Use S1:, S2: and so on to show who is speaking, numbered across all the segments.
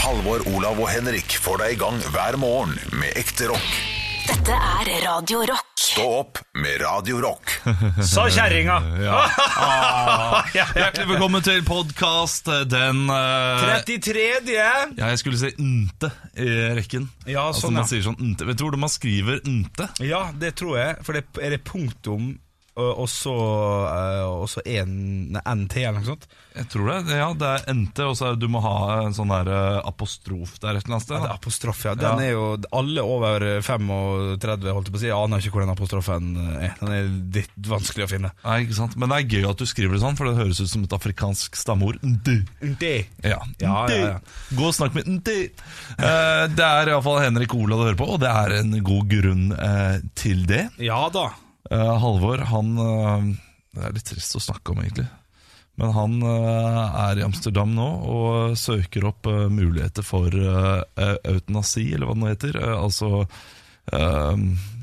S1: Halvor, Olav og Henrik får deg i gang hver morgen med ekte rock.
S2: Dette er Radio Rock.
S1: Stå opp med Radio Rock.
S3: Sa kjerringa! Ah. Ja.
S4: Hjertelig velkommen til podkast den eh,
S3: 33.
S4: ja, Jeg skulle si nte i rekken.
S3: Ja,
S4: altså,
S3: sånn,
S4: man
S3: ja.
S4: sier sånn nte. Vet du hvordan man skriver nte?
S3: Ja, det tror jeg. For det er det punktum og og så eh, og så en nei, NT eller noe sånt.
S4: Jeg tror det. Ja, det er nte, og så er- du må ha en sånn der eh, apostrof der et eller
S3: Ja,
S4: annet sted.
S3: det er
S4: da.
S3: apostrof, ja. Den
S4: Ja.
S3: er jo Alle over 35 holdt jeg på å si, aner ikke hvor den apostrofen er. Den er litt vanskelig å finne.
S4: Nei, ikke sant? Men det er gøy at du skriver det sånn, for det høres ut som et afrikansk stammeord. Nte.
S3: Det.
S4: Ja.
S3: Ja,
S4: Nte.
S3: ja, ja.
S4: Gå og snakk med nte. Eh, det er iallfall Henrik Ola du hører på, og det er en god grunn eh, til det.
S3: Ja da.
S4: Eh, Halvor, han eh, Det er litt trist å snakke om, egentlig. Men han eh, er i Amsterdam nå og søker opp eh, muligheter for eh, eh, eutanasi, eller hva det nå heter. Eh, altså eh,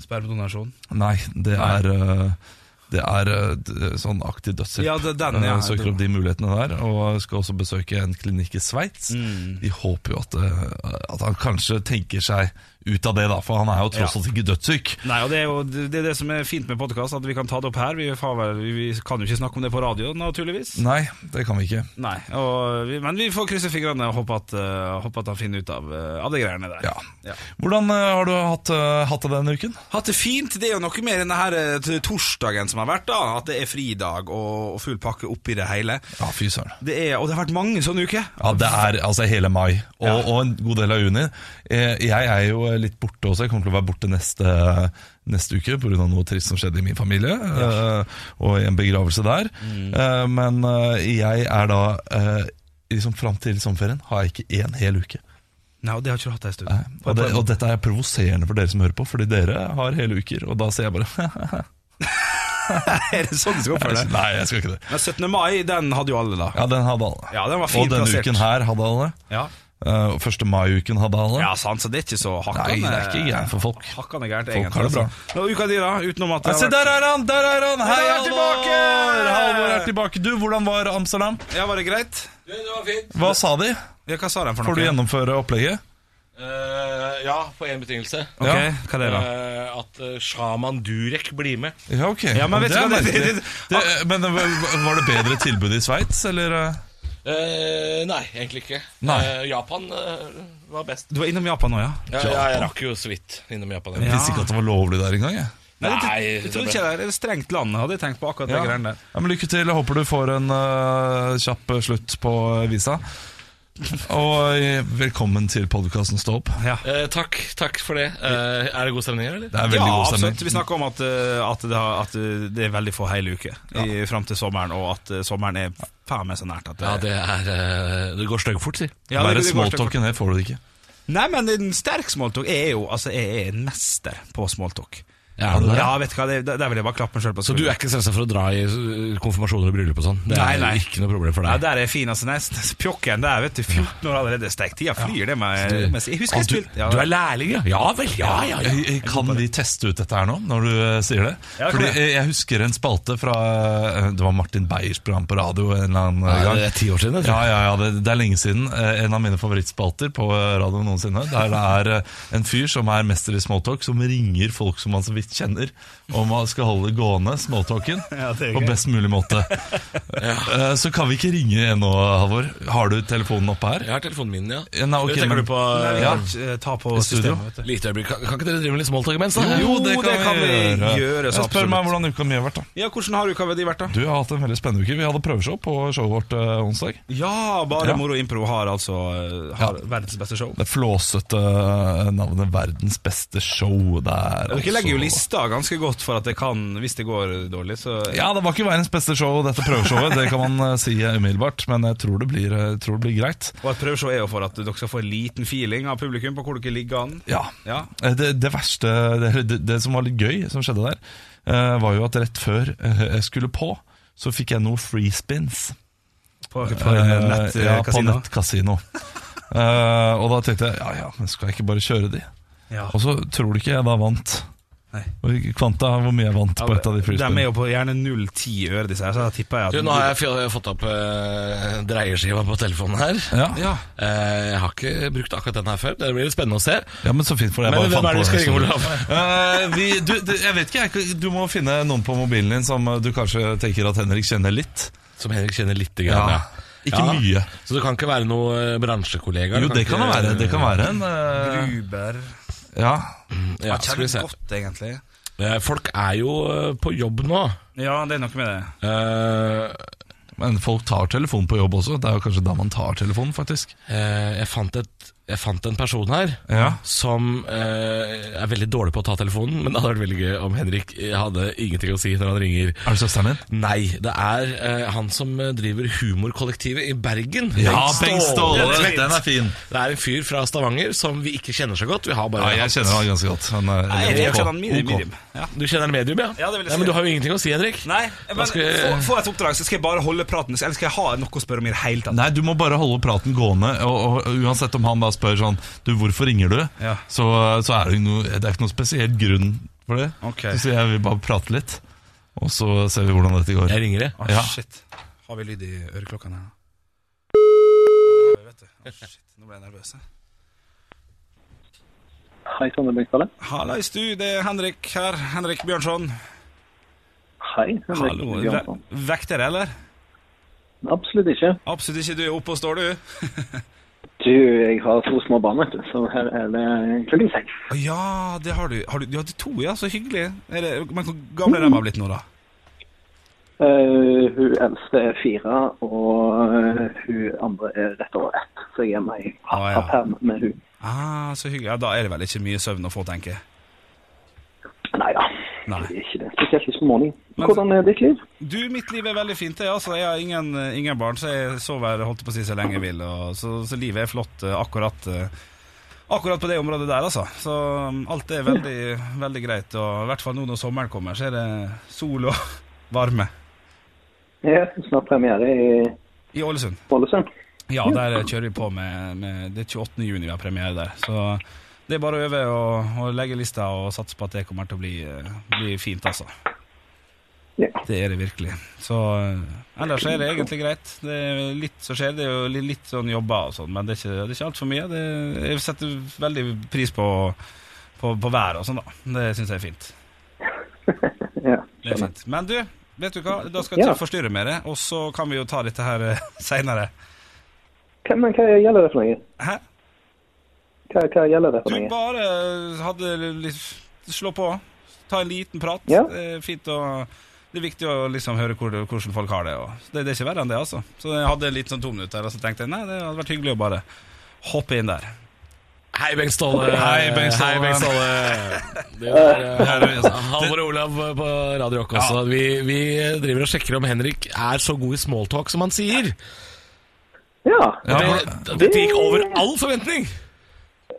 S3: Spermdonasjon.
S4: Nei, det er eh, det er eh, d- sånn aktiv dødshjelp.
S3: Ja, det er den,
S4: Eh,
S3: ja.
S4: Søker opp de mulighetene der, og skal også besøke en klinikk i Sveits.
S3: Mm.
S4: Vi håper jo at, eh, at han kanskje tenker seg ut av det, da, for han er jo tross
S3: Ja.
S4: alt ikke dødssyk.
S3: Nei, og det er jo det, er det som er fint med podkast, at vi kan ta det opp her. Vi, har vel- vi kan jo ikke snakke om det på radio, naturligvis.
S4: Nei, det kan vi ikke.
S3: Nei, og vi, men vi får krysse fingrene og håpe at, eh, håpe at han finner ut av, eh, av de greiene der.
S4: Ja. Hvordan eh, har du hatt, eh, hatt det denne uken?
S3: Hatt det fint. Det er jo noe med denne her eh, t- torsdagen som har vært, da. At det er fridag og, og full pakke oppi det hele.
S4: Ja, fy søren.
S3: Det er, og det har vært mange sånne uker.
S4: Ja, det er altså hele mai, og,
S3: Ja.
S4: og en god del av juni. Eh, Jeg er jo litt borte også, jeg kommer til å være borte neste, neste uke pga. noe trist som skjedde i min familie, eh, og i en begravelse der.
S3: Mm.
S4: Eh, Men eh, jeg er da eh, liksom Fram til sommerferien har jeg ikke én hel uke.
S3: Nei, og det har jeg ikke hatt ei stund.
S4: Nei, Og, det, og dette er provoserende for dere som hører på, fordi dere har hele uker, og da sier jeg bare
S3: er det sånn du skal oppføre deg?
S4: Nei, jeg skal ikke det.
S3: Men 17. mai, den hadde jo alle, da.
S4: Ja, den hadde alle.
S3: Ja, den var
S4: og
S3: fint
S4: denne
S3: plassert.
S4: uken her hadde alle.
S3: Ja.
S4: Eh, og første mai-uken hadde alle.
S3: ja, eh, sant, så det er ikke så hakkende
S4: Nei, det er ikke gærent for folk.
S3: Hakkende gærent,
S4: Folk
S3: egentlig.
S4: har det bra.
S3: altså. Nå, uka di, da? Utenom at
S4: Nei,
S3: det
S4: se,
S3: har
S4: der er han! Der er han! Hei,
S3: Der er han
S4: Halvor!
S3: tilbake!
S4: Halvor er tilbake. Du, hvordan var Amsterdam?
S3: vært- Ja, var det greit?
S4: Hva sa de?
S3: Ja, hva sa de for noe?
S4: Får du gjennomføre opplegget?
S5: Eh, ja, på én betingelse.
S3: Ok,
S4: Ja.
S3: hva er det, da?
S5: Eh, at eh, Shaman Durek blir med.
S4: Ja, ok.
S3: Ja, men vet
S4: det
S3: du hva,
S4: er
S3: det-
S4: merkelig.
S3: det-
S4: det, Men det var var det bedre tilbud i Sveits, eller? eh?
S5: Eh, nei, egentlig ikke.
S4: Nei.
S5: Eh, Japan eh, var best.
S3: Du var innom Japan nå, ja?
S5: Ja, ja, jeg rakk jo så vidt innom Japan.
S4: Jeg visste ikke at det var lovlig der engang. jeg.
S3: Nei, det,
S5: Nei,
S3: jeg tror
S5: det
S3: ikke det er et strengt land, hadde jeg tenkt på akkurat det greiene der.
S4: Ja, men lykke til. Jeg håper du får en eh, kjapp slutt på eh, visa. Og eh, velkommen til podkasten Stå opp.
S3: Ja.
S5: Eh, takk, takk for det. Eh, er det god stemning her, eller?
S4: Det er veldig
S3: ja,
S4: god stemning.
S3: absolutt. Vi snakker om at, eh, at, det, har, at eh, det er veldig få hele uker i- fram til sommeren, og at eh, sommeren er faen meg så nært at det,
S5: Ja, det er eh, Det går styggfort, si.
S3: Ja, det- det
S4: Bare
S3: går stygt fort.
S4: smalltalken her får du det ikke.
S3: Nei, men en sterk smalltalk er jo Altså, jeg er en mester på smalltalk.
S5: Er du det?
S3: Ja, vet du hva, det, der der vil jeg bare klappe meg sjøl på
S5: Så du er ikke stressa for å dra i eh, konfirmasjoner og bryllup og sånn? Det er
S3: Nei, nei.
S5: ikke noe problem for
S3: Ja,
S5: deg?
S3: der er fin altså nest. Pjokken der, vet du. 14 år allerede. Steikt. Tida flyr, det med, med Jeg husker jeg
S5: du,
S3: spilte ja,
S5: du er lærling, ja? Ja vel, ja ja. ja.
S4: Jeg- jeg- Eh, Kan vi teste ut dette her nå, når du eh, sier det?
S3: Ja, det kan
S4: Fordi
S3: vi.
S4: jeg, jeg husker en spalte fra eh, Det var Martin Beyers program på radio en eller annen eh,
S5: Ja,
S4: gang.
S5: Det er ti år siden. jeg
S4: Ja,
S5: tror.
S4: ja, ja, det, det er lenge siden. Eh, En av mine favorittspalter på eh, radioen noensinne. Der det er eh, en fyr som er mester i smalltalk, som ringer folk som han så vidt kjenner, om han skal holde gående smalltalken
S3: Ja, det er
S4: på
S3: gøy.
S4: best mulig måte. Eh, Så kan vi ikke ringe ennå, Halvor. Har du telefonen oppe her?
S5: Jeg har telefonen min, ja.
S4: Ja, nei, ok,
S5: tenker
S4: men-
S5: du på
S3: Nei, vi
S5: ja.
S3: kan ikke, eh, ta på
S4: I studio.
S3: systemet, vet du.
S5: Lite øyeblikk. Kan, kan ikke dere drive med litt smalltalk imens? da?
S3: Jo, det kan vi gjøre, så
S4: Jeg spør
S3: absolutt.
S4: meg hvordan uka mi har vært, da.
S3: Ja, hvordan har uka di vært, da?
S4: Du jeg har hatt en veldig spennende uke. Vi hadde prøveshow på showet vårt eh, onsdag.
S3: Ja, Bare
S4: Ja.
S3: Moro Impro har altså eh, har verdens beste show.
S4: Det flåsete eh, navnet 'Verdens beste show'. Der, altså.
S3: Dere legger jo lista ganske godt for at det kan, hvis det går dårlig, så
S4: Ja, det var ikke verdens beste show, dette prøveshowet. Det kan man eh, si umiddelbart, men jeg tror det blir, eh, jeg tror det blir greit.
S3: Og et prøveshow er jo for at dere skal få en liten feeling av publikum på hvor dere ligger an.
S4: Ja.
S3: Ja.
S4: Eh, Det, det verste, det, det, det som var litt gøy som skjedde der, eh, var jo at rett før eh, jeg skulle på, så fikk jeg noe free spins.
S3: På, på
S4: Eh,
S3: nett, eh,
S4: ja, på
S3: kasino.
S4: nettkasino. Eh, og da tenkte jeg ja ja, men skal jeg ikke bare kjøre de?
S3: Ja.
S4: Og så tror du ikke jeg da vant
S3: Nei.
S4: Og Kvanta, hvor mye jeg vant på et av de
S3: De er
S4: flyspillene?
S3: jo på gjerne 0-10 øre, disse her, så da tipper jeg at
S5: Du, nå har jeg fj- fått opp eh, dreieskiva på telefonen her.
S4: Ja.
S3: Ja.
S5: Eh, jeg har ikke brukt akkurat den her før. Det blir spennende å se.
S4: ja, men så fint for deg.
S5: Men
S4: jeg bare fant
S5: hvem er det vi
S4: på
S5: skal
S4: det,
S5: ringe,
S4: så-
S5: Olav?
S4: Eh, vi, du, du, jeg vet ikke, jeg, kan- du må finne noen på mobilen din som eh, du kanskje tenker at Henrik kjenner litt.
S5: Som Henrik kjenner litt. Grann,
S4: Ja.
S5: ja.
S4: Ikke
S5: Ja.
S4: mye.
S5: Så det kan ikke være noe eh, bransjekollega?
S4: Jo, det kan det
S5: ikke-
S4: være. Det kan være en eh,
S3: Uber
S4: Ja.
S5: Ja, skal vi se.
S3: godt, egentlig.
S5: Eh, Folk er jo eh, på jobb nå.
S3: Ja, det er noe med det.
S5: Eh,
S4: Men folk tar telefon på jobb også. Det er jo kanskje da man tar telefonen, faktisk.
S5: eh, jeg, fant et, jeg fant en person her
S4: Ja.
S5: som eh, er veldig dårlig på å ta telefonen, men det hadde vært veldig gøy om Henrik eh, hadde ingenting å si når han ringer.
S4: Er det søsteren din?
S5: Nei, det er eh, han som eh, driver humorkollektivet i Bergen. Bengt Ståle.
S4: Den er fin.
S5: Det er en fyr fra Stavanger som vi ikke kjenner så godt. Vi har
S4: Ja,
S5: bare
S4: jeg kjenner han ganske godt. Han er,
S3: Jeg
S4: ok.
S3: kjenner han medium.
S4: Ok.
S3: medium. Ja.
S5: Du kjenner medium, ja?
S3: Ja, det vil jeg
S5: Nei,
S3: si.
S5: men du har jo ingenting å si, Henrik.
S3: Nei, men
S5: skal jeg-
S3: få, få et oppdrag, så skal jeg bare holde praten. Eller skal jeg ha noe å spørre om i det hele tatt?
S4: Nei, du må bare holde praten gående. Og, og, og Uansett om han da spør sånn Du, hvorfor ringer du?
S3: Ja.
S4: Så, så er det, jo noe, det er ikke noe spesiell grunn for det.
S3: Ok.
S4: Så sier jeg vil bare prate litt, og så ser vi hvordan dette går.
S5: Jeg ringer det.
S3: Ah,
S4: Ja.
S3: Shit. Har vi lyd i øreklokkene her? Oi, vet du. Ah, shit. Nå ble jeg nervøs. jeg.
S6: Hei, Sondre Bengtale.
S3: Hallais, du. Det er Henrik her. Henrik Bjørnson.
S6: Hei. Henrik
S3: Hallo.
S6: Johansson.
S3: Ve vekter, eller?
S6: Absolutt ikke.
S3: Absolutt ikke. Du er oppe og står, du.
S6: Du, jeg har to små barn, vet du, så her er det klokken seks.
S3: Å, Ja, det har du. Har du, du hadde to, ja. Så hyggelig. Er det, men hvor gamle er de blitt nå, da?
S6: Eh, hun eldste er fire, og eh, hun andre er rett over ett. Så jeg er med i
S3: Ah, ja.
S6: pappaperm med hun.
S3: Ah, så hyggelig. Ja, Da er det vel ikke mye søvn å få, tenker jeg.
S6: Nei da,
S3: Nei.
S6: det er ikke det. Spesielt ikke på morgenen.
S3: Men-
S6: Hvordan er ditt liv?
S3: Du, mitt liv er veldig fint. Jeg, altså, jeg har ingen, ingen barn, så jeg sover holdt jeg på å si, så lenge jeg vil. Og, så, så livet er flott eh, akkurat, eh, akkurat på det området der, altså. Så um, alt er veldig, veldig greit. Og i hvert fall nå når sommeren kommer, så er det sol og varme.
S6: Jeg har snart premiere i
S3: I Ålesund.
S6: Ålesund.
S3: Ja, der kjører vi på med, med Det er 28. juni vi har premiere der. Så det er bare å øve og, og legge lista og satse på at det kommer til å bli, eh, bli fint, altså.
S6: Ja.
S3: Det er det virkelig. Så eh, ellers er det egentlig greit. Det er litt som skjer, det er jo li- litt sånn jobber og sånn, men det er ikke, det er ikke altfor mye. Det, jeg setter veldig pris på, på, på været og sånn, da. Det syns jeg er fint.
S6: ja.
S3: Det er fint. Men du, vet du hva, da skal
S6: Ja.
S3: jeg ikke forstyrre mer, og så kan vi jo ta dette her eh, seinere.
S6: Hva, men hva gjelder det for noe?
S3: Hæ?
S6: Hva, hva gjelder det
S3: Du
S6: for noe?
S3: bare hadde litt Slå på. Ta en liten prat.
S6: Ja.
S3: Det er fint å det er viktig å liksom høre hvor, hvordan folk har det. Og det, det er ikke verre enn det, altså. Så jeg hadde litt sånn to minutter, og så tenkte jeg nei, det hadde vært hyggelig å bare hoppe inn der.
S5: Hei, Bengt Ståle.
S4: Hei, Bengt Ståle.
S5: Hei, Bengt Ståle. Det var
S4: altså.
S5: eh, Halvor og Olav på Radio Rock også. Vi, vi eh, driver og sjekker om Henrik er så god i smalltalk som han sier.
S6: Ja.
S4: Ja,
S5: Det, dette gikk over all forventning.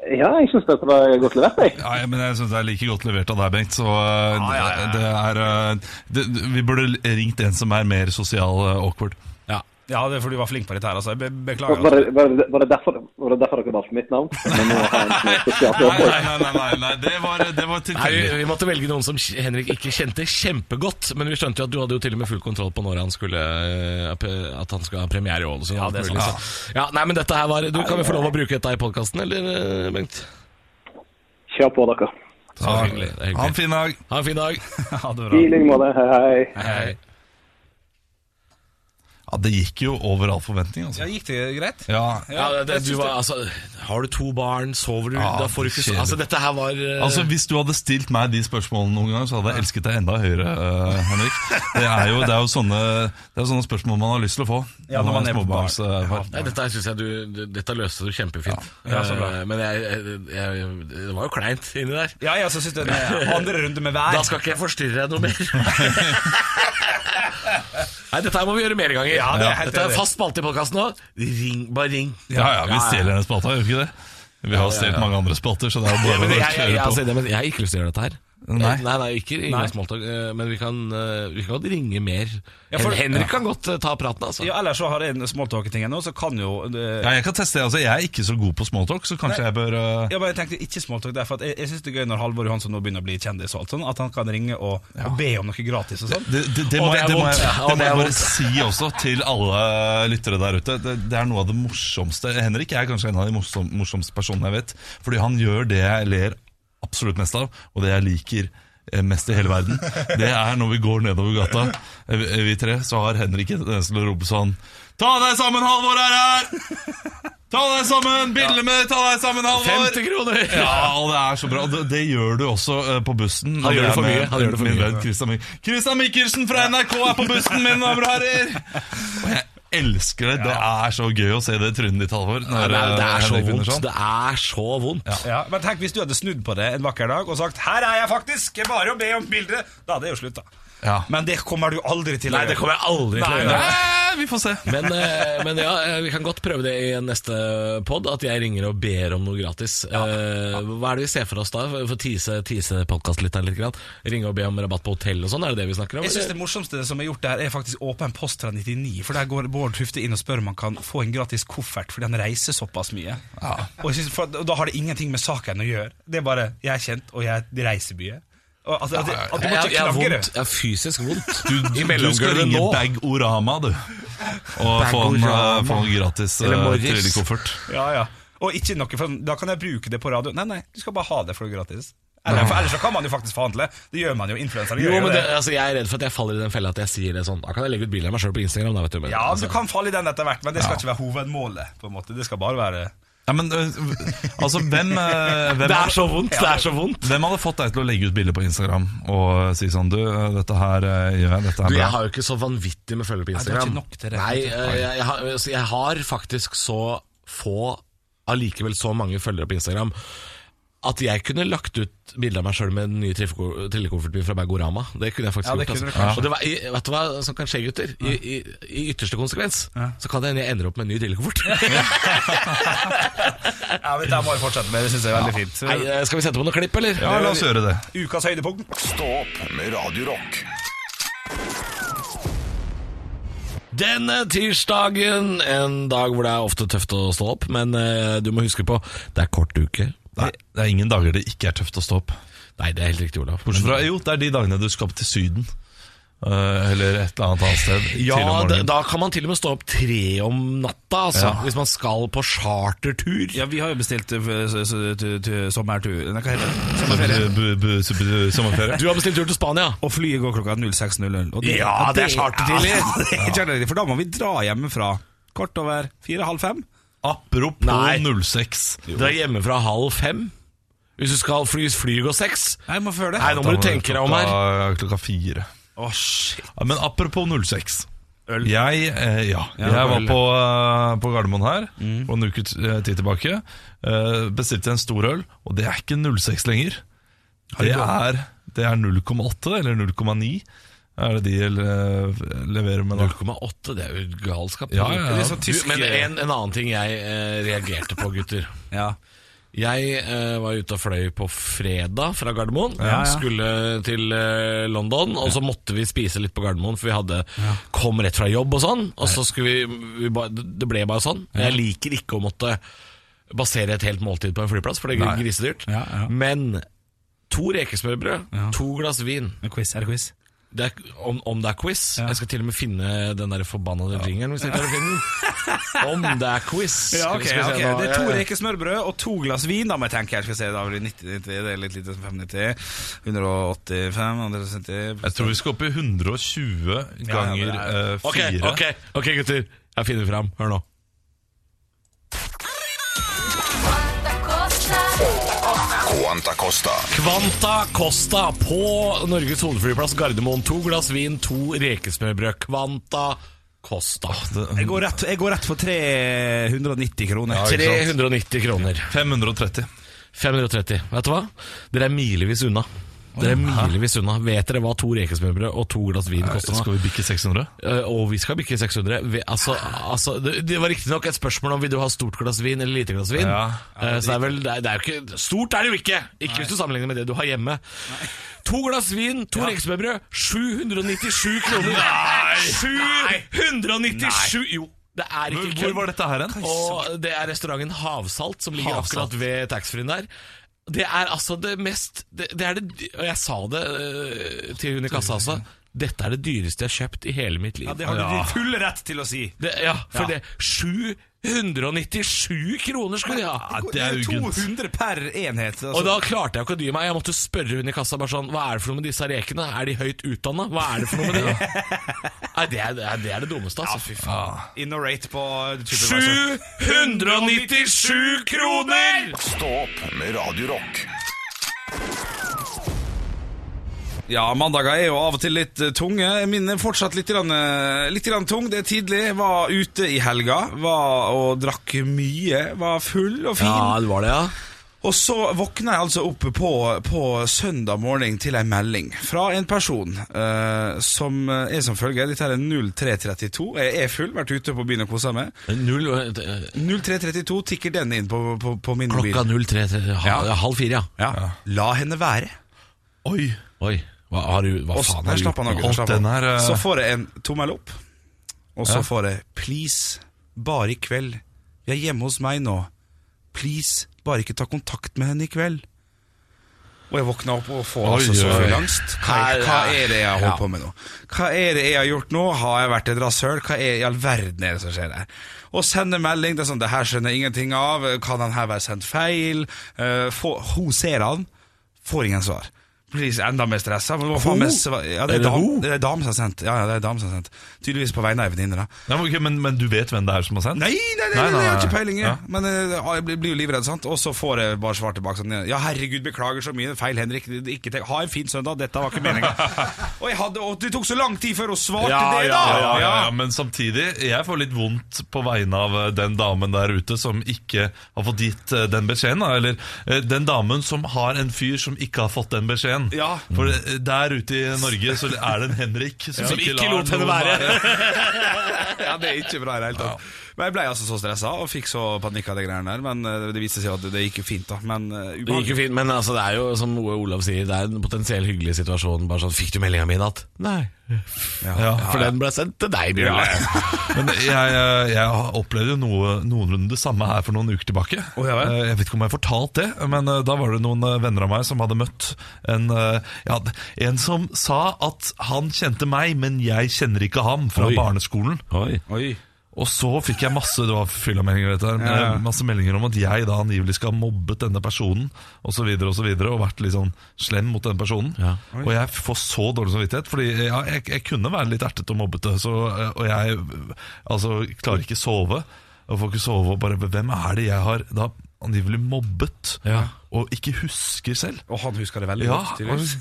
S6: ja, jeg syns dette var godt levert, jeg.
S4: ja, men jeg syns det er like godt levert av deg, Bengt. Så eh, det er eh, det, Vi burde ringt en som er mer sosial eh, awkward.
S5: Ja.
S3: Ja, det er fordi du var flink på dette her, altså. Jeg be
S6: Var
S3: beklager.
S6: var
S3: Altså.
S6: det, var det, var det, derfor, var det derfor dere valgte mitt navn? Vi må ha en som er spesielt
S4: Nei,
S6: oppdrag.
S4: nei, nei, nei, nei, nei. det var, det var
S5: Nei, vi,
S4: tilfeldig.
S5: vi måtte velge noen som kj- Henrik ikke kjente kjempegodt. Men vi skjønte jo at du hadde jo til og med full kontroll på når han skulle eh, pe- At han skal ha premiere i Ålesund. Ja,
S3: det er
S5: ja, nei, men dette her var Du kan jo få lov å bruke dette i podkasten, eller, eh, Bengt?
S6: Kjør på, dere.
S5: Så hyggelig. det
S4: Ha
S5: er
S4: en
S5: hyggelig.
S4: fin dag.
S5: Ha en fin dag.
S3: Ja, det er
S6: I
S3: bra.
S6: like måte. Hei, hei.
S5: Hei.
S4: Ja, det gikk jo over all forventning,
S3: Ja,
S4: altså.
S3: gikk det greit?
S4: Ja,
S5: Ja, det, det,
S3: jeg syns
S5: du var,
S3: det-
S5: altså, har du to barn, sover du
S4: Ja,
S5: Da får du ikke
S4: det skjer.
S5: Altså, dette her var eh,
S4: Altså Hvis du hadde stilt meg de spørsmålene noen gang, så hadde jeg elsket deg enda høyere. eh, Henrik Det er jo, det er jo sånne, det er sånne spørsmål man har lyst til å få.
S3: Ja, når man er på barn.
S4: småbarnsfar.
S5: Nei, dette her synes jeg du det- Dette løste du kjempefint.
S3: Ja, så bra.
S5: Eh, Men jeg, jeg, jeg, det var jo kleint inni der.
S3: Ja, ja, så syns jeg det er andre runde med
S5: Da
S3: hver.
S5: skal ikke jeg forstyrre deg noe mer. Nei, dette her må vi gjøre mer ganger.
S3: Ja, det er helt
S5: dette er
S3: enig.
S5: fast spalte i podkasten nå. Ring, bare ring.
S4: Ja, ja, vi stjeler denne spalta, gjør vi ikke det? Vi har stjålet mange andre spalter, så det er jo
S5: Men
S4: bare å
S5: jeg, jeg, jeg,
S4: kjøre
S5: altså,
S4: på.
S5: det- men jeg har ikke lyst til å gjøre dette her.
S4: Nei.
S5: Nei, nei, ikke ingen smalltalk, eh, men vi kan, eh, vi kan godt ringe mer.
S3: Ja, for-
S5: Hen- Henrik kan godt eh, ta praten, altså.
S3: Ja, ellers så har jeg en smalltalk-ting ennå, så kan jo eh, det-
S4: Ja, jeg kan teste det. altså Jeg er ikke så god på smalltalk, så kanskje jeg bør eh,
S3: Ja, men jeg tenkte ikke smalltalk der, for at jeg, jeg syns det er gøy når Halvor Johansson nå begynner å bli kjendis, og alt sånn, at han kan ringe og, og be om noe gratis og sånn.
S4: det, det, det,
S5: Å,
S4: må,
S5: det
S4: jeg-
S5: er
S4: det, må, jeg,
S5: vondt. Ja,
S4: det må
S5: det er
S4: jeg bare
S5: vondt.
S4: si også til alle lyttere der ute. Det, det er noe av det morsomste. Henrik er kanskje en av de morsom, morsomste personene jeg vet. Fordi han gjør det jeg ler absolutt mest av, og det jeg liker eh, mest i hele verden. Det er når vi går nedover gata, eh, vi eh, vi tre, så har Henrik en tendens til å rope sånn Ta deg sammen, Halvor er her! Ta deg sammen! Bildene med Ta deg sammen, Halvor!
S5: 50 kroner!
S4: Ja, og det er så bra. Det, det gjør du også eh, på bussen.
S5: Han gjør det for
S4: er
S5: mye,
S4: med
S5: han gjør det for
S4: min
S5: mye.
S4: venn Christian, Mik Christian Mikkelsen fra NRK er på bussen min, damer og herrer! Og jeg elsker det. Det er så gøy å se det trynet ditt, Halvor.
S5: Nei,
S4: når,
S5: det, er, det
S4: eh,
S5: er så
S4: Henrik vinner
S5: vondt.
S4: sånn.
S5: Det er så vondt.
S3: Ja, men tenk hvis du hadde snudd på det en vakker dag og sagt 'Her er jeg faktisk! Bare å be om bilde!' Da hadde det jo slutta.
S4: Ja.
S3: Men det kommer du aldri til
S5: Nei, det kommer jeg aldri til å
S3: Nei,
S5: gjøre.
S4: Nei, vi får se.
S5: Men, eh, men ja, eh, vi kan godt prøve det i neste pod, at jeg ringer og ber om noe gratis. Eh, Hva er det vi ser for oss da? For å tease, tease podkastlytteren litt? Grann. Ringe og be om rabatt på hotell og sånn, er det det vi snakker om?
S3: Jeg synes
S5: eller?
S3: Det morsomste som er gjort der, er faktisk åpen post fra 99. For Der går Bård Tufte inn og spør om han kan få en gratis koffert fordi han reiser såpass mye. Og, jeg synes, for, og Da har det ingenting med saken å gjøre. Det er bare 'jeg er kjent, og jeg reiser mye'. Og, altså, at, at du må
S5: Eh, jeg, jeg,
S3: ikke
S5: har
S3: knagge
S5: vondt,
S3: det.
S5: jeg har fysisk vondt
S4: Du,
S5: i
S4: du skal
S5: mellomgulvet
S4: ringe
S5: nå.
S4: Bag-Orama, du. Og få en, eh, få en gratis
S5: Eller
S4: uh,
S5: Morris.
S4: trillekoffert.
S3: Ja, ja. Og ikke noe, for da kan jeg bruke det på radio. Nei, nei, du skal bare ha det for gratis. Eller, for ellers så kan man jo faktisk forhandle. Det gjør man jo. Influensere
S5: Jo,
S3: gjør jo
S5: men det,
S3: det.
S5: altså, Jeg er redd for at jeg faller i den fella at jeg sier det sånn. Da kan jeg legge ut bilde av meg sjøl på Instagram. Da, vet du, men,
S3: Ja,
S5: altså,
S3: du kan falle i den etter hvert, men det skal ikke være hovedmålet. på en måte Det skal bare være
S4: Ja, men eh, altså, hvem, eh, hvem
S5: det er så vondt! Det er så vondt!
S4: Hvem hadde fått deg til å legge ut bilder på Instagram og si sånn Du, dette her eh, gjør jeg, dette er
S5: Du, jeg
S4: bra.
S5: har jo ikke så vanvittig med følgere på
S3: du har
S5: Instagram.
S3: ikke nok til det.
S5: Nei, eh, jeg, jeg, har, altså, jeg har faktisk så få, allikevel så mange følgere på Instagram, at jeg kunne lagt ut bilde av meg sjøl med den nye trilleko- trillekofferten min fra Bergorama. Det kunne jeg faktisk
S3: Ja, det
S5: gjort.
S3: kunne du
S5: altså.
S3: kanskje.
S5: Og det var, i, vet du hva som kan skje, gutter? I, i, i ytterste konsekvens så kan det hende jeg ender opp med en ny trillekoffert.
S3: Ja, men Det må vi fortsette med. Det syns jeg er veldig fint.
S5: Nei, eh, skal vi sette på noen klipp, eller?
S4: Ja, la oss gjøre det.
S3: Ukas høydepunkt.
S1: Stå opp med Radio Rock.
S5: Denne tirsdagen, en dag hvor det er ofte tøft å stå opp, men eh, du må huske på, det er kort uke.
S4: Nei, det er ingen dager det ikke er tøft å stå opp.
S5: Nei, det er helt riktig, Olav.
S4: Bortsett
S5: Men-
S4: fra Jo, det er de dagene du skal opp til Syden. eh, Eller et eller annet annet sted. tidlig om
S5: Ja, da,
S4: morgenen.
S5: da kan man til og med stå opp tre om natta, altså,
S4: Ja.
S5: hvis man skal på chartertur.
S3: Ja, vi har jo bestilt eh, sommertur Hva heter det?
S4: Bu- bu- bu- bu- bu- Sommerferie.
S5: Du har bestilt tur til Spania.
S3: Og flyet går klokka 06.00. og
S5: Ja, det er chartertidlig.
S3: Ja, det er chartertidlig, For da må vi dra hjemmefra kort over fire-halv fem.
S5: Nei.
S4: Apropos 06.
S5: Dra hjemmefra halv fem. Hvis du skal fly, fly går seks.
S3: Nei, må før det.
S5: Nei, nå må du tenke deg om her.
S4: Klokka- Klokka fire.
S3: Å, shit.
S4: Ja, men apropos 06.
S3: Øl.
S4: Jeg, eh, ja. jeg var
S3: øl.
S4: på, eh, på Gardermoen her for en uke t- eh, tid tilbake. Eh, bestilte en stor øl, og det er ikke 06 lenger. Det er, det er 0,8 eller 0,9. Er det de le- leverer med da?
S5: 0,8, det er jo galskap.
S4: Ja, ja, ja.
S5: Du,
S4: Det er sånn
S3: tysk-
S5: men en, en annen ting jeg eh, reagerte på, gutter.
S3: Ja.
S5: Jeg eh, var ute og fløy på fredag fra Gardermoen.
S3: ja.
S5: Skulle til eh, London, og så måtte vi spise litt på Gardermoen, for vi hadde kom rett fra jobb og sånn. Og så skulle vi, vi ba, Det ble bare sånn. Jeg liker ikke å måtte basere et helt måltid på en flyplass, for det
S4: Nei.
S5: er grisedyrt.
S3: Ja, ja.
S5: Men to rekesmørbrød, to glass vin
S3: En quiz, er det quiz?
S5: det er, om, om det er quiz Jeg skal til og med finne den der forbannede jingeren, hvis jeg klarer å finne den. Om det er quiz.
S3: Ja,
S5: Skal vi-
S3: ok,
S5: skal vi se
S3: ok.
S5: nå.
S3: Det er
S5: Ja,
S3: to
S5: ja.
S3: reker smørbrød og to glass vin. Da må jeg tenke her, skal vi se, da blir det 90, 90, det er litt lite som 590, 185, 170
S4: Jeg tror vi skal opp i 120
S3: Ja, ja,
S4: ganger
S3: det er-
S4: eh,
S5: Ok,
S4: fire.
S5: ok, ok gutter Jeg finner fram, hør nå
S1: Quanta Costa.
S5: Kvanta Costa på Norges hovedflyplass Gardermoen To glass vin, to rekesmørbrød Kvanta Costa
S4: Det-
S3: Jeg går rett, jeg går rett for 390 kroner.
S4: Ja, ikke sant.
S5: 390 kroner
S4: 530.
S5: 530, vet du hva? Dere er milevis unna Det er milevis unna. Vet dere hva to rekesmørbrød og to glass vin koster nå?
S4: Skal vi bikke 600?
S5: Eh, Og vi skal bikke 600. Vi, altså, altså, det, det var riktignok et spørsmål om vil du ha stort glass vin eller lite glass vin.
S4: Ja.
S5: Eh, så det er vel, det er, det er jo ikke, stort er det jo ikke! Ikke hvis du sammenligner med det du har hjemme. To glass vin, to rekesmørbrød, 797 kroner. Nei! 797! Jo, det er ikke
S4: Hvor var dette her hen?
S5: og det er restauranten Havsalt som ligger
S4: Havsalt.
S5: akkurat ved taxfree-en der. Det er altså det mest det, det er det, Og jeg sa det eh, til hun i kassa også. Dette er det dyreste jeg har kjøpt i hele mitt liv.
S3: Ja, det har du
S5: Ja.
S3: din fulle rett til å si.
S5: Det, ja, for
S3: Ja.
S5: det 797 kroner skulle de ha!
S4: det er ugunt.
S3: 200 per enhet. Altså.
S5: Og da klarte jeg ikke å dy meg. Jeg måtte spørre hun i kassa bare sånn Hva er det for noe med disse rekene? Er de høyt utdanna? Hva er det for noe med det? Nei, det er det, er, det, er det dummeste, altså.
S3: Innorate på altså. Supervisor.
S5: 797 kroner!
S1: Stå opp med Radio Rock.
S3: Ja, mandager er jo av og til litt eh, tunge. Min er fortsatt litt, grann, eh, litt grann tung. Det er tidlig. Jeg Var ute i helga var og drakk mye. Var full og fin.
S5: Ja, det var det, ja.
S3: Og så våkna jeg altså opp på, på søndag morgen til ei melding fra en person eh, som er som følger. Dette her er 0332. Jeg er full, vært ute på byen og kosa meg.
S5: Null, eh,
S3: 0332 tikker den inn på, på, på min
S5: klokka
S3: mobil.
S5: 03 til halv,
S3: Ja.
S5: halv fire, ja.
S3: Ja. La henne være.
S4: Oi!
S5: Oi, hva, har du, hva
S3: Og så, der
S5: faen har du
S3: slapp
S5: gjort?
S3: han av,
S4: nå?
S3: gutter,
S4: Alt
S3: slapp han.
S4: den her, eh,
S3: Så får jeg en tommel opp, og så får jeg 'please, bare i kveld'. Vi er hjemme hos meg nå. Please, bare ikke ta kontakt med henne i kveld. Og jeg våkna opp og får
S4: Oi,
S3: altså så
S4: oi.
S3: full angst. Hva,
S5: Her-
S3: hva er det jeg har holdt
S5: Ja.
S3: på med nå? Hva er det jeg har gjort nå? Har jeg vært et rasshøl? Hva er, i all verden er det som skjer her? Og sende melding. Det er sånn, det her skjønner jeg ingenting av. Kan den her være sendt feil? Eh, få- hun ser han, får ingen svar. Blir enda mer stressa. men hva faen
S5: Hun?
S3: mest svar- Ja, det
S5: Er
S3: er
S5: det
S3: dam-
S5: hun?
S3: det er dame som har sendt. Ja, ja, det er dame som har sendt. Tydeligvis på vegne av ei venninne, da.
S4: Nei, men, ok, men, men du vet hvem det er som har sendt?
S3: Nei, nei, nei,
S4: Nei,
S3: nei,
S4: nei,
S3: jeg har ikke
S4: nei.
S3: peiling. jeg.
S4: Ja.
S3: Men eh, jeg blir- blir jo livredd, sant. Og så får jeg bare svar tilbake sånn Ja, herregud, beklager så mye. Feil, Henrik. Ikke tenk. Ha en fin søndag. Dette var ikke meninga. og, jeg hadde- og det tok så lang tid før hun svarte
S5: Ja,
S3: det, da!
S4: Ja, ja, ja,
S3: Ja.
S4: Men samtidig, jeg får litt vondt på vegne av eh, den damen der ute som ikke har fått gitt eh, den beskjeden. da, Eller eh, den damen som har en fyr som ikke har fått den beskjeden.
S3: Ja.
S4: For eh, der ute i Norge så er det en Henrik som,
S5: Som ikke
S4: lar
S5: lot henne
S4: noen
S5: være.
S3: ja, det er ikke bra i det hele tatt. Men jeg ble altså så stressa og fikk så panikk av de greiene der. Men eh, det viste seg at det gikk jo fint, da. Men eh,
S5: Det gikk jo fint, men altså, det er jo som Olav sier, det er en potensiell hyggelig situasjon. Bare sånn, Fikk du meldinga mi i natt? Nei.
S4: Ja.
S5: For den ble sendt til deg, Bjørn.
S4: Men jeg, eh, jeg opplevde jo noe, noenlunde det samme her for noen uker tilbake.
S3: Å, ja vel.
S4: Eh, jeg vet ikke om jeg fortalte det, men eh, da var det noen eh, venner av meg som hadde møtt en, eh, ja, en som sa at han kjente meg, men jeg kjenner ikke ham fra
S5: Oi.
S4: barneskolen.
S5: Oi.
S3: Oi.
S4: Og så fikk jeg masse det var fylla meldinger, dette her, men,
S3: Ja, ja.
S4: eh, masse meldinger om at jeg da angivelig skal ha mobbet denne personen og så videre, og, så videre, og vært litt sånn slem mot denne personen.
S5: Ja.
S4: Og jeg får så dårlig samvittighet, Fordi ja, jeg, jeg kunne være litt ertet og mobbete, så, eh, og jeg eh, altså, klarer ikke sove. Og får ikke sove og bare Hvem er det jeg har da angivelig mobbet
S5: Ja.
S4: og ikke husker selv?
S3: Og han huska det veldig
S4: Ja,
S3: godt.
S4: det var
S3: tydeligvis.
S4: en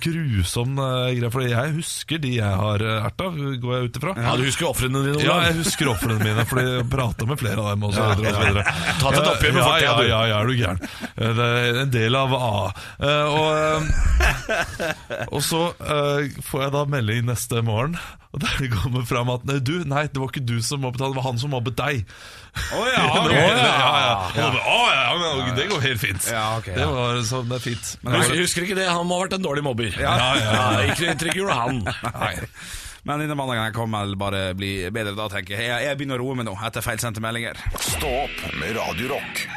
S4: grusom eh, greie, for jeg husker de jeg har eh, erta, går jeg ut ifra.
S5: Ja, du husker ofrene dine,
S4: Ja,
S5: Olav?
S4: jeg husker ofrene mine, Fordi jeg prata med flere av dem. Og så videre, og så videre.
S5: Ta til et oppgjør med
S4: ja,
S5: fortiden,
S4: ja,
S5: du.
S4: ja, ja, er du gæren. Eh, Det er en del av A. Eh, Og, eh, og så eh, får jeg da melding neste morgen, og der det kommer fram at nei, du, nei, det var ikke du som mobbet han, det var han som mobbet deg.
S3: Å ja,
S4: Det var-
S3: ok.
S5: Ah,
S4: ja, ja. Og da bare, Å ja, men det går helt fint.
S3: Ja, ok, ja.
S4: Det var sånn, det er fint.
S5: Hus- Husker ikke det? Han må ha vært en dårlig mobber. Ja, ja, ja. Ikke noe inntrykk gjorde han.
S3: Men denne mandagen kommer vel bare bli bedre da, tenker jeg. jeg. Jeg begynner å roe meg nå, etter feilsendte meldinger.
S1: Stå opp med Radio Rock.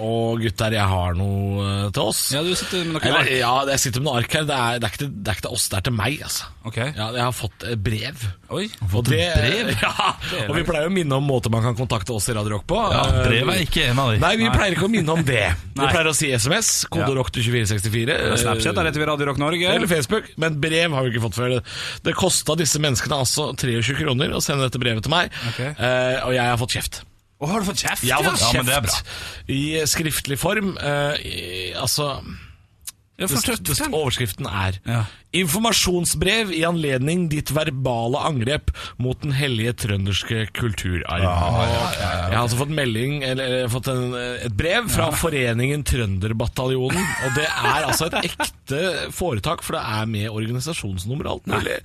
S5: Og gutter, jeg har noe eh, til oss.
S3: du sitter med
S5: Eller, ja, jeg sitter med noen ark her. Det er, det, er ikke, til- det er ikke til oss, det er til meg, altså.
S3: Ok.
S5: Ja, jeg har fått eh, brev.
S3: Oi.
S5: Og det- Ja, og vi pleier å minne om måter man kan kontakte oss i Radio Rock på. Eh, vi-
S4: ikke en av
S5: Nei, vi pleier ikke å minne om det. Vi
S3: Nei.
S5: pleier å si SMS, kode
S3: Ja.
S5: rock til 2464. eh,
S3: Snapchat, der heter vi Radio Rock Norge.
S5: eller Facebook, men brev har vi ikke fått før. Det- Det kosta disse menneskene altså 23 kroner å sende dette brevet til meg,
S3: Ok.
S5: eh, og jeg har fått kjeft.
S3: Å, har du fått kjeft?
S5: Jeg har fått
S4: Ja, men det er
S5: kjeft i skriftlig form. eh, i, altså
S3: Ja,
S5: det, det, Overskriften er
S3: Ja.
S5: Informasjonsbrev i anledning ditt verbale angrep mot den hellige trønderske kulturarv. Jeg har altså fått melding, eller eh, fått en, eh, et brev fra Foreningen Trønderbataljonen. Og det er altså et ekte foretak, for det er med organisasjonsnummer og alt mulig.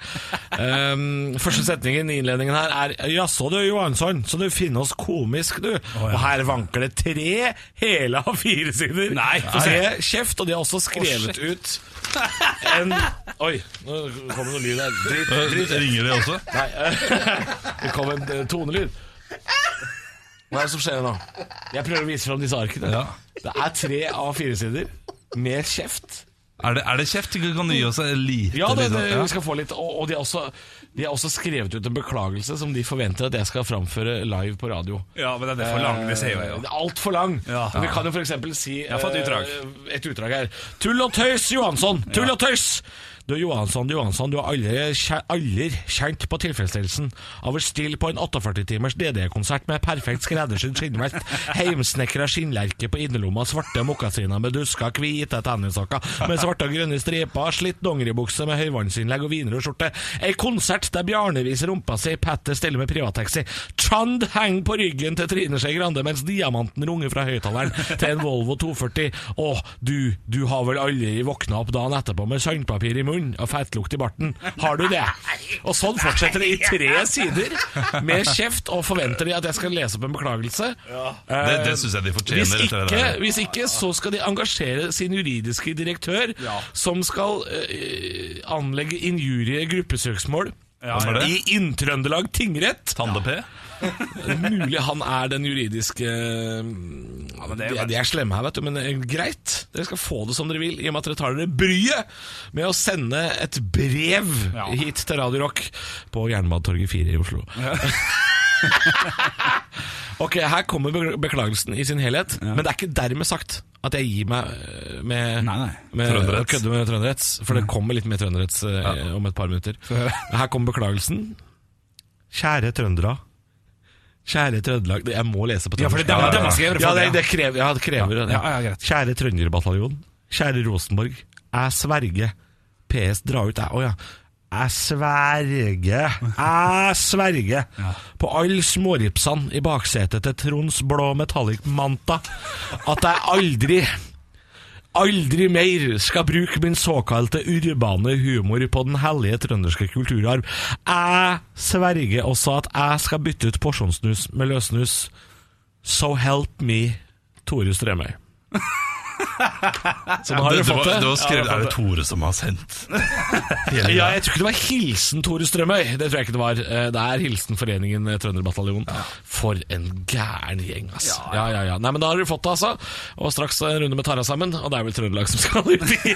S5: Um, første setningen i innledningen her er Jaså du, Johansson, så du finner oss komisk, du. Og her vanker det tre hele av fire sider. Nei, så ser jeg kjeft, og de har også skrevet ut en Oi, nå kom det noe lyd der. Dritt,
S4: Eh, Ringer de også?
S5: Nei, det kom en eh, tonelyd. Hva er det som skjer nå? Jeg prøver å vise fram disse arkene.
S4: Ja.
S5: Det er tre av fire sider med kjeft.
S4: Er det, er det kjeft? Kan du gi oss en lite
S5: Ja, det,
S4: liten-
S5: det,
S4: sånn, ja.
S5: vi skal få litt Og, og de, har også, de har også skrevet ut en beklagelse som de forventer at jeg skal framføre live på radio.
S3: Ja, men den er for lang, det ser jeg jo.
S5: Det er altfor lang.
S3: Ja.
S5: Men vi kan jo f.eks. si
S3: har fått utdrag.
S5: eh, et utdrag her. Tull og tøys, Johansson! Tull og tøys! Du Johansson, Johansson, du har aldri, kje- aldri kjent på tilfredsstillelsen av å stille på en 48-timers DD-konsert med perfekt skreddersydd skinnvest, heimsnekra skinnlerke på innerlomma, svarte mokkasiner med duska, hvite tennissokker med svarte og grønne striper, slitt dongeribukse med høyvannsinnlegg og wienerskjorte, ei konsert der Bjarne viser rumpa si, Petter stiller med privattaxi, Trond henger på ryggen til Trine Skei Grande mens diamanten runger fra høyttaleren til en Volvo 240. Å, du, du har vel aldri våkna opp dagen etterpå med sandpapir i munnen og fettlukt i barten? Har du det? Og sånn fortsetter det i tre sider med kjeft, og forventer de at jeg skal lese opp en beklagelse.
S4: Det, det syns jeg de fortjener.
S5: Hvis
S4: etter det
S5: ikke,
S4: der.
S5: hvis ikke, så skal de engasjere sin juridiske direktør, som skal eh, anlegge injurie gruppesøksmål
S4: Hvem er det?
S5: i Inntrøndelag tingrett.
S4: Tande-P?
S5: Det er Mulig han er den juridiske ja,
S3: det er jo-
S5: de, de er slemme her, vet du, men eh, greit. Dere skal få det som dere vil, i og med at dere tar dere bryet med å sende et brev
S3: Ja.
S5: hit til Radio Rock på Jernbanetorget 4 i Oslo. ok, her kommer be- beklagelsen i sin helhet, men det er ikke dermed sagt at jeg gir meg eh, med,
S3: Nei, nei.
S5: med å
S4: Trønderets.
S5: kødde med trønderets, for det kommer litt mer trønderets eh, om et par minutter. Her kommer beklagelsen. Kjære trøndere. Kjære Trøndelag Det- Jeg må lese på
S3: Ja, for det er dem- dem har skrevet det for
S5: Ja,
S3: deg,
S5: det, det krever, ja, det krever det.
S3: Ja, ja, ja, greit.
S5: Kjære Trønderbataljon. Kjære Rosenborg. Jeg sverger. PS, dra ut deg. Å ja. Jeg sverger, jeg sverger på alle småripsene i baksetet til Tronds blå metallic manta at jeg aldri Aldri mer skal bruke min såkalte urbane humor på den hellige trønderske kulturarv. Jeg sverger også at jeg skal bytte ut porsjonssnus med løssnus. So help me, Tore Strømøy. Så nå har
S4: Det,
S5: dere
S4: det, var,
S5: fått det.
S4: det var skrevet, er det Tore som har sendt? Hele-
S5: Ja, jeg tror ikke det var hilsen Tore Strømøy. Det tror jeg ikke det var. Eh, Det er hilsen Foreningen eh, Trønderbataljon. For en gæren gjeng, ass. Ja, ja, ja. Nei, men da har dere fått det, altså. Og straks en runde med Tara sammen, og det er vel Trøndelag som skal ut i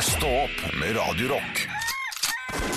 S1: Stå opp med Radio Rock.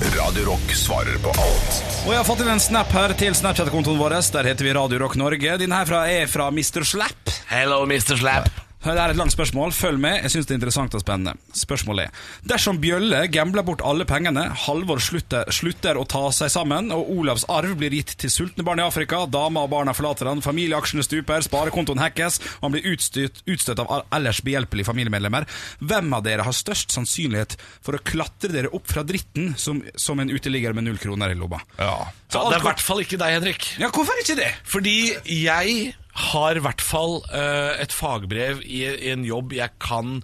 S1: Radio Rock svarer på alt.
S3: Og jeg har fått inn en snap her til Snapchat-kontoen vår. Der heter vi Radio Rock Norge. Din herfra er fra Mr. Slap.
S5: Hello, Mr. Slap.
S3: Det er et langt spørsmål. Følg med. Jeg syns det er interessant og spennende. Spørsmålet er Dersom Bjølle gambler bort alle pengene, Halvor slutter, slutter å ta seg sammen, og Olavs arv blir gitt til sultne barn i Afrika, damer og barna forlater han, familieaksjene stuper, sparekontoen hackes, og han blir utstøtt, utstøtt av ellers behjelpelige familiemedlemmer, hvem av dere har størst sannsynlighet for å klatre dere opp fra dritten som, som en uteligger med null kroner i lomma?
S4: Ja.
S3: Så
S5: Ja,
S3: alt
S5: det er i
S3: kom-
S5: hvert fall ikke deg, Henrik.
S3: Ja, hvorfor ikke det?
S5: Fordi jeg har i hvert fall eh, et fagbrev i, i en jobb jeg kan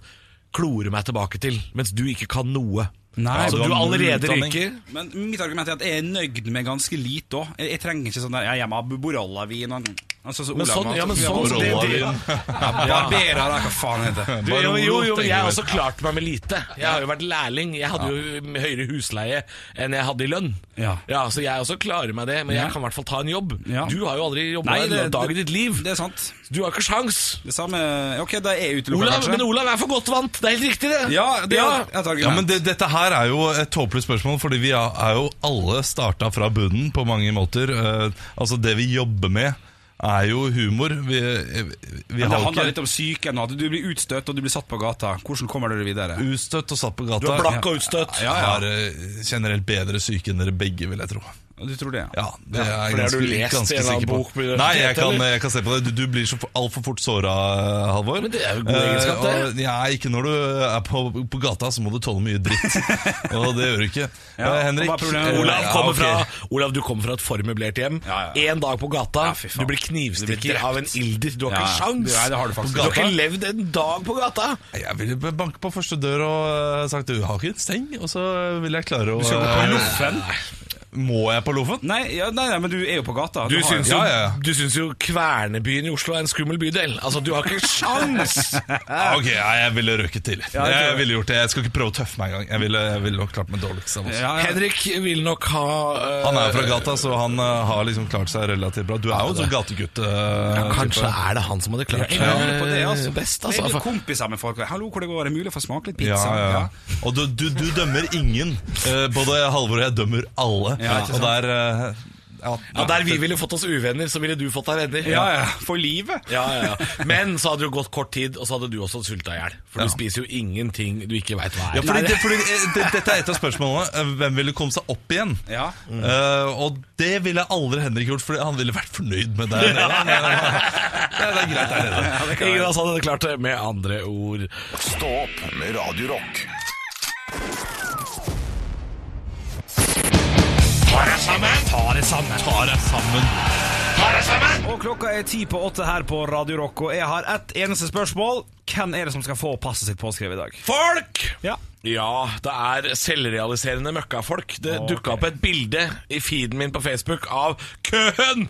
S5: klore meg tilbake til, mens du ikke kan noe.
S3: Nei,
S5: så
S4: du
S5: du,
S4: har null
S5: allerede
S4: utdanning.
S5: ryker.
S3: Men mitt argument er at jeg er nøyd med ganske lite òg. Jeg, jeg trenger ikke sånn der Jeg er hjemme av Borolla-vin og altså, så
S5: Men
S3: Olav-
S5: sånn, ja, men sånn
S4: Rolla
S5: det, det,
S4: din.
S3: Ja, Barberer, da, hva faen heter det?
S5: du, jo,
S4: Barolo,
S5: jo, jo, men jeg har
S4: tenker
S5: også klart meg med lite. Jeg har jo vært lærling. Jeg hadde jo høyere husleie enn jeg hadde i lønn.
S3: Ja.
S5: Så jeg også klarer meg det, men jeg kan i hvert fall ta en jobb.
S3: Ja.
S5: Du har jo aldri jobba en dag i ditt liv.
S3: Det er sant.
S5: Du har ikke sjans.
S3: Det samme Ok, da er jeg utelukka,
S5: Olav,
S3: kanskje.
S5: men Olav er for godt vant. Det er helt riktig, det.
S3: ja, det
S5: Ja.
S3: er et argument.
S4: Ja, men det, Dette her er jo et tåpelig spørsmål, fordi vi er, er jo alle starta fra bunnen på mange måter. Eh, altså Det vi jobber med, er jo humor. Vi, vi
S3: Men det
S4: har jo
S3: handler litt
S4: ikke
S3: om psyken, og at du blir utstøtt og du blir satt på gata. Hvordan kommer dere videre?
S4: utstøtt og satt på gata.
S5: Du er blakk og utstøtt.
S3: Ja, ja.
S4: Har eh, generelt bedre syke enn dere begge, vil jeg tro.
S3: Du tror det, ja?
S4: Ja, det er jeg
S5: for det har
S4: ganske,
S5: du lest i
S4: ganske
S5: en eller annen
S4: sikker på.
S5: bok på universitetet,
S4: Nei, jeg kan,
S5: eller?
S4: jeg kan se på det. Du, du blir så for- altfor fort såra, Halvor. Eh,
S5: Men det er jo god egenskap, det.
S4: og- Ja, ikke når du er på, på gata, så må du tåle mye dritt. og det gjør du ikke.
S3: Ja,
S4: Eh, Henrik.
S3: og hva er problemet?
S4: eh,
S5: Olav,
S4: ja,
S5: kommer
S4: ok.
S5: fra, Olav, du kommer fra et formøblert hjem. Én
S3: Ja, ja, ja.
S5: dag på gata,
S3: Ja, fy faen.
S5: du blir
S3: Du blir
S5: knivstikker
S3: drept.
S5: av en ilder. Du har
S3: Ja,
S5: ikke
S3: ja.
S5: sjans!
S3: Nei, det har du faktisk
S5: du har
S3: ikke.
S5: ikke levd en dag på gata!
S4: Jeg ville b- banke på første dør og eh, sagt du har ikke en seng, og så vil jeg klare å
S3: Du skal gå på
S4: eh,
S3: loffen?
S4: Må jeg på loffen?
S3: Nei, ja, nei, nei, men du er jo på gata.
S5: Du
S3: har jo-
S5: syns jo,
S4: Ja, ja, ja.
S5: du syns jo Kvernebyen i Oslo er en skummel bydel. Altså, du har ikke sjans!
S4: Ja, ok, ja, jeg ville røket til.
S3: jeg tror
S4: jeg
S3: det.
S4: ville gjort det. Jeg skal ikke prøve å tøffe meg engang. Jeg ville, jeg ville nok klart meg liksom, altså. dårligst av oss.
S3: ja, ja.
S5: Henrik vil nok ha eh,
S4: Han er jo fra gata, så han eh, har liksom klart seg relativt bra. Du er jo en sånn gategutt. eh,
S5: ja, Kanskje
S4: type.
S5: er det han som hadde klart
S3: Jeg lurer på det, altså.
S5: best,
S3: Jeg blir
S5: altså.
S3: kompiser med folk. og, Hallo, hvor det går? Er det mulig å få smake litt sånn,
S4: Ja,
S3: pizza?
S4: ja. Og du, du, du dømmer ingen. Eh, Både Halvor og jeg dømmer alle.
S3: Ja, ikke
S4: og der eh, ja,
S5: Ja, Der vi ville fått oss uvenner, så ville du fått deg venner.
S3: Ja, ja. For livet.
S5: Ja, ja, ja. Men så hadde det jo gått kort tid, og så hadde du også sulta i hjel. For du spiser jo ingenting du ikke veit hva
S4: ja,
S5: er.
S4: fordi, det, fordi eh, det, Dette er et av spørsmålene. Eh, Hvem ville komme seg opp igjen?
S3: Ja.
S4: Eh, og det ville aldri Henrik gjort, for han ville vært fornøyd med deg. Ja, det er greit der nede.
S5: Ingen av oss hadde klart det, med andre ord.
S1: Stå opp med Radio Rock.
S3: Og klokka er ti på åtte her på Radio Rock, og jeg har ett eneste spørsmål. Hvem er det som skal få passet sitt påskrevet i dag?
S5: Folk!
S3: Ja.
S5: Ja, det er selvrealiserende møkkafolk. Det dukket dukka opp et bilde i feeden min på Facebook av køen!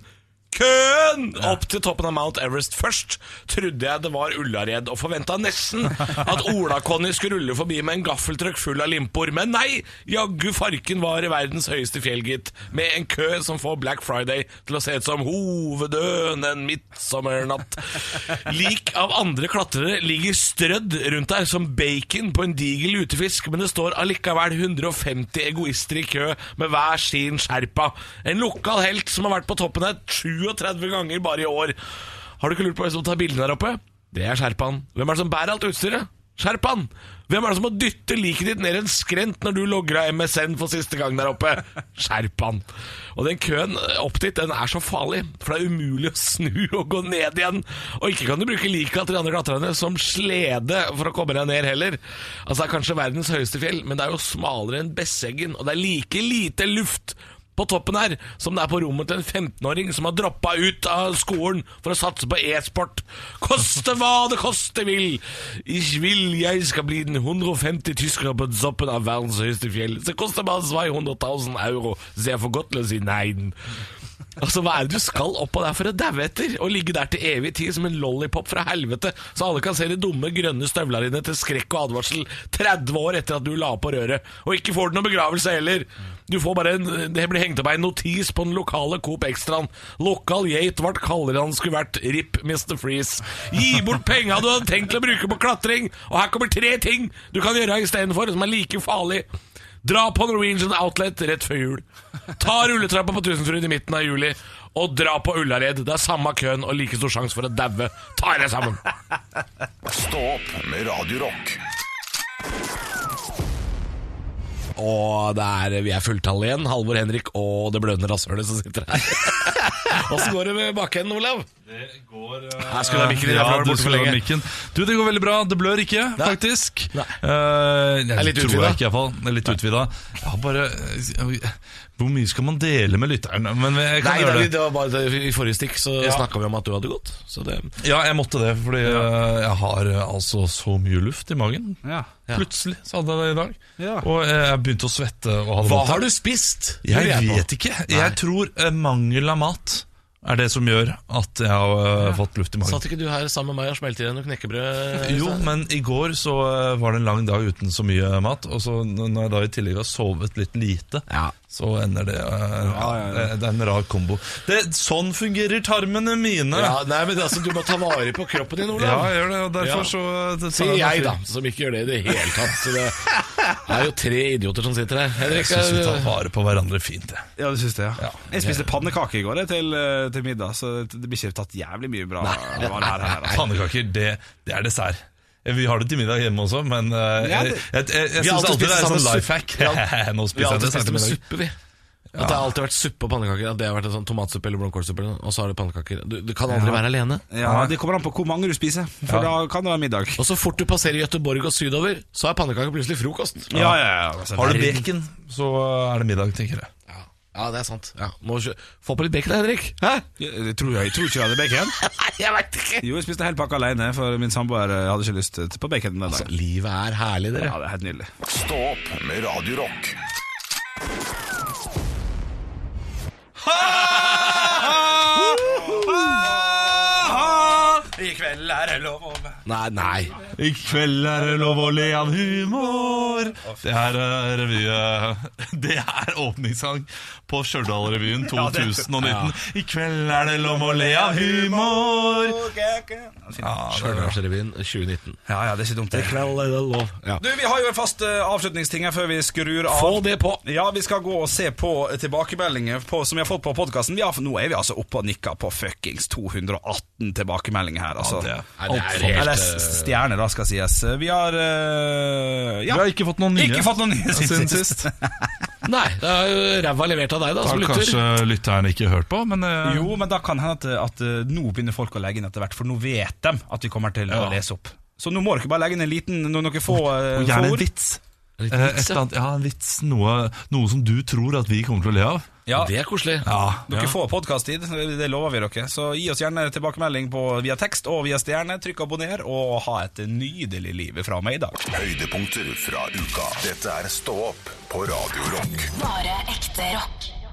S5: Køen opp til toppen av Mount Everest først trodde jeg det var Ullared, og forventa nesten at Ola-Conny skulle rulle forbi med en gaffeltrøkk full av limpor. Men nei! Jaggu farken var i verdens høyeste fjell, gitt. Med en kø som får Black Friday til å se ut som hovedøen en midtsommernatt. Lik av andre klatrere ligger strødd rundt der som bacon på en diger lutefisk, men det står allikevel 150 egoister i kø med hver sin sherpa. En lokal helt som har vært på toppen her 37 ganger bare i år. Har du ikke lurt på hvem som tar bildene der oppe? Det er sherpaen. Hvem er det som bærer alt utstyret? Sherpaen! Hvem er det som må dytte liket ditt ned en skrent når du logger av MSN for siste gang der oppe? Sherpaen! Og den køen opp dit, den er så farlig, for det er umulig å snu og gå ned igjen. Og ikke kan du bruke liket til de andre klatrerne som slede for å komme deg ned heller. Altså, det er kanskje verdens høyeste fjell, men det er jo smalere enn Besseggen, og det er like lite luft på toppen her, som det er på rommet til en 15-åring som har droppa ut av skolen for å satse på e-sport. Koste hva det koste vil! Ich will jeg skal bli den 150 tyskere på toppen av verdens høyeste fjell. Det koster bare 200 000 euro, så jeg får godt til å si nei. Altså, Hva er det du skal opp på der for å daue etter? Og ligge der til evig tid som en lollipop fra helvete, så alle kan se de dumme grønne støvla dine til skrekk og advarsel 30 år etter at du la på røret. Og ikke får du noen begravelse heller. Du får bare en, Det blir hengt opp ei notis på den lokale Coop Extraen. 'Lokal geit vart kaldere enn han skulle vært'. RIP Mr. Freeze. Gi bort penga du hadde tenkt til å bruke på klatring, og her kommer tre ting du kan gjøre istedenfor, som er like farlig. Dra på Norwegian Outlet rett før jul. Ta rulletrappa på Tusenfryd i midten av juli. Og dra på Ullared. Det er samme køen og like stor sjanse for å daue. Ta dere sammen!
S1: Stå opp med Radio Rock.
S5: Og det er, vi er fulltallet igjen. Halvor Henrik og det blødende rasshølet som sitter her. Åssen går det med bakenden, Olav? Her skulle jeg ha mikken din.
S4: Ja,
S5: Jeg har vært
S4: du
S5: borte for
S4: skulle ha
S5: lenge.
S4: mikken. Du, det går veldig bra. Det blør ikke, faktisk.
S5: Nei.
S4: Eh, jeg
S5: litt
S4: tror
S5: utvida.
S4: jeg ikke, iallfall. Det er litt utvida. Jeg har bare eh, Hvor mye skal man dele med lytteren? Men jeg kan
S5: Nei,
S4: gjøre
S5: det,
S4: det.
S5: det var bare det, I forrige stikk så
S4: Ja.
S5: snakket snakka vi om at du hadde gått. Så det,
S4: Ja, jeg måtte det, fordi eh, jeg har eh, altså så mye luft i magen.
S3: Ja.
S4: Plutselig så hadde jeg det i dag.
S3: Ja.
S4: Og eh, jeg begynte å svette. Og hadde
S5: hva
S4: vondt.
S5: har du spist?
S4: Jeg
S5: Lurer på.
S4: vet ikke. Jeg tror eh, mangel av mat er det som gjør at jeg har eh, fått luft i magen.
S5: Satt ikke du her sammen med meg og smelte i deg noe knekkebrød?
S4: Jo, men i går så eh, var det en lang dag uten så mye mat. Og så n- når jeg da i tillegg har sovet litt lite,
S5: Ja.
S4: så ender det eh, ja,
S3: ja, ja.
S4: Det, det er en rar kombo. Det, sånn fungerer tarmene mine!
S5: Ja,
S4: Ja,
S5: nei, men altså, Du må ta vare på kroppen din, Olav.
S4: jeg gjør det, og derfor
S5: Ja.
S4: så eh, det, tar
S5: Sier
S4: meg
S5: jeg,
S4: fri.
S5: da, som ikke gjør det i det hele tatt. Så det er jo tre idioter som sitter her.
S4: Jeg
S5: Henrik,
S4: syns vi tar
S5: er-
S4: vare på hverandre fint, jeg.
S3: Ja, du syns det, ja.
S4: Ja.
S3: Jeg spiste pannekake i går jeg, til, eh, til middag, så det det blir ikke tatt jævlig mye bra varer her. her altså.
S4: Pannekaker, det, det er dessert. Vi har det til middag hjemme også, men eh,
S3: Ja,
S4: jeg,
S3: det-
S4: jeg, jeg, jeg
S5: har
S4: syns
S5: alltid
S4: alltid det
S5: spist
S4: er sånn
S5: samme
S4: life hack.
S5: suppe. Ja.
S4: Nå
S5: vi har
S4: spiser jeg
S5: alltid
S4: dessert
S5: spist
S4: til
S5: med
S4: middag.
S5: suppe, vi. At det har alltid vært suppe og pannekaker. At det har vært en sånn tomatsuppe eller blomkålsuppe, eller noe, og så har du pannekaker. Du, du kan aldri være alene.
S3: Ja, Det kommer an på hvor mange du spiser, for da kan det være middag.
S5: Og så fort du passerer Gøteborg og sydover, så er pannekaker plutselig frokost.
S3: Ja, ja, ja, altså,
S4: Har du
S3: herregud.
S4: bacon, så eh, er det middag, tenker jeg.
S5: Ja, ja det er sant. Ja. Må kjø- få på litt bacon, da, Henrik. Hæ?
S3: Jeg jeg tror, jeg tror ikke jeg hadde bacon.
S5: Nei, jeg veit ikke.
S3: Jo, jeg spiste hel pakke alene, for min samboer eh, hadde ikke lyst til- på bacon den dagen.
S5: Livet er herlig, dere.
S3: Ja, det er helt nydelig.
S1: Stå opp med Radio Rock.
S3: I kveld er det lov å
S5: Nei, nei.
S4: I kveld er det lov å le av humor. Det er eh, revy eh, Det er åpningssang på Stjørdal-revyen 2019. I kveld er det lov å le av humor.
S5: Stjørdalsrevyen 2019.
S3: Ja, ja, det er ikke dumt. det
S5: Ja.
S3: Du, Vi har jo en fast eh, avslutningsting her før vi skrur av.
S5: Få det på.
S3: Ja, Vi skal gå og se på eh, tilbakemeldinger på, som vi har fått på podkasten. Nå er vi altså oppe og nikker på fuckings 218 tilbakemeldinger her. Altså.
S4: Ja, det er-
S5: Nei, det er
S3: Alt for-
S5: helt,
S3: Eller
S5: eh,
S3: s- stjerner, da, skal sies. Vi har eh, ja.
S4: Vi har ikke fått noen nye,
S3: Ikke fått noen nye
S4: siden sist.
S5: eh, Nei, det er jo ræva levert av deg, da, som
S4: Har
S5: lytter.
S4: kanskje lytteren ikke hørt på, men eh,
S3: Jo, men da kan hende at, at eh, nå begynner folk å legge inn etter hvert, for nå vet de at vi kommer til å
S4: Ja.
S3: lese opp. Så nå må dere bare legge inn en liten noen dere få eh,
S4: og gjerne
S3: få
S4: en
S3: ord.
S4: vits.
S5: En liten
S4: Eh,
S5: vits,
S4: et
S5: ja.
S4: eller annet, ja, en vits noe, noe som du tror at vi kommer til å le av.
S3: Ja,
S5: Det er koselig.
S3: dere får podkast-tid, det lover vi dere. Så gi oss gjerne tilbakemelding på, via tekst og via stjerne. Trykk abonner, og ha et nydelig liv fra meg i dag.
S1: Høydepunkter fra uka. Dette er Stå opp på Radio Rock.
S2: Bare ekte rock.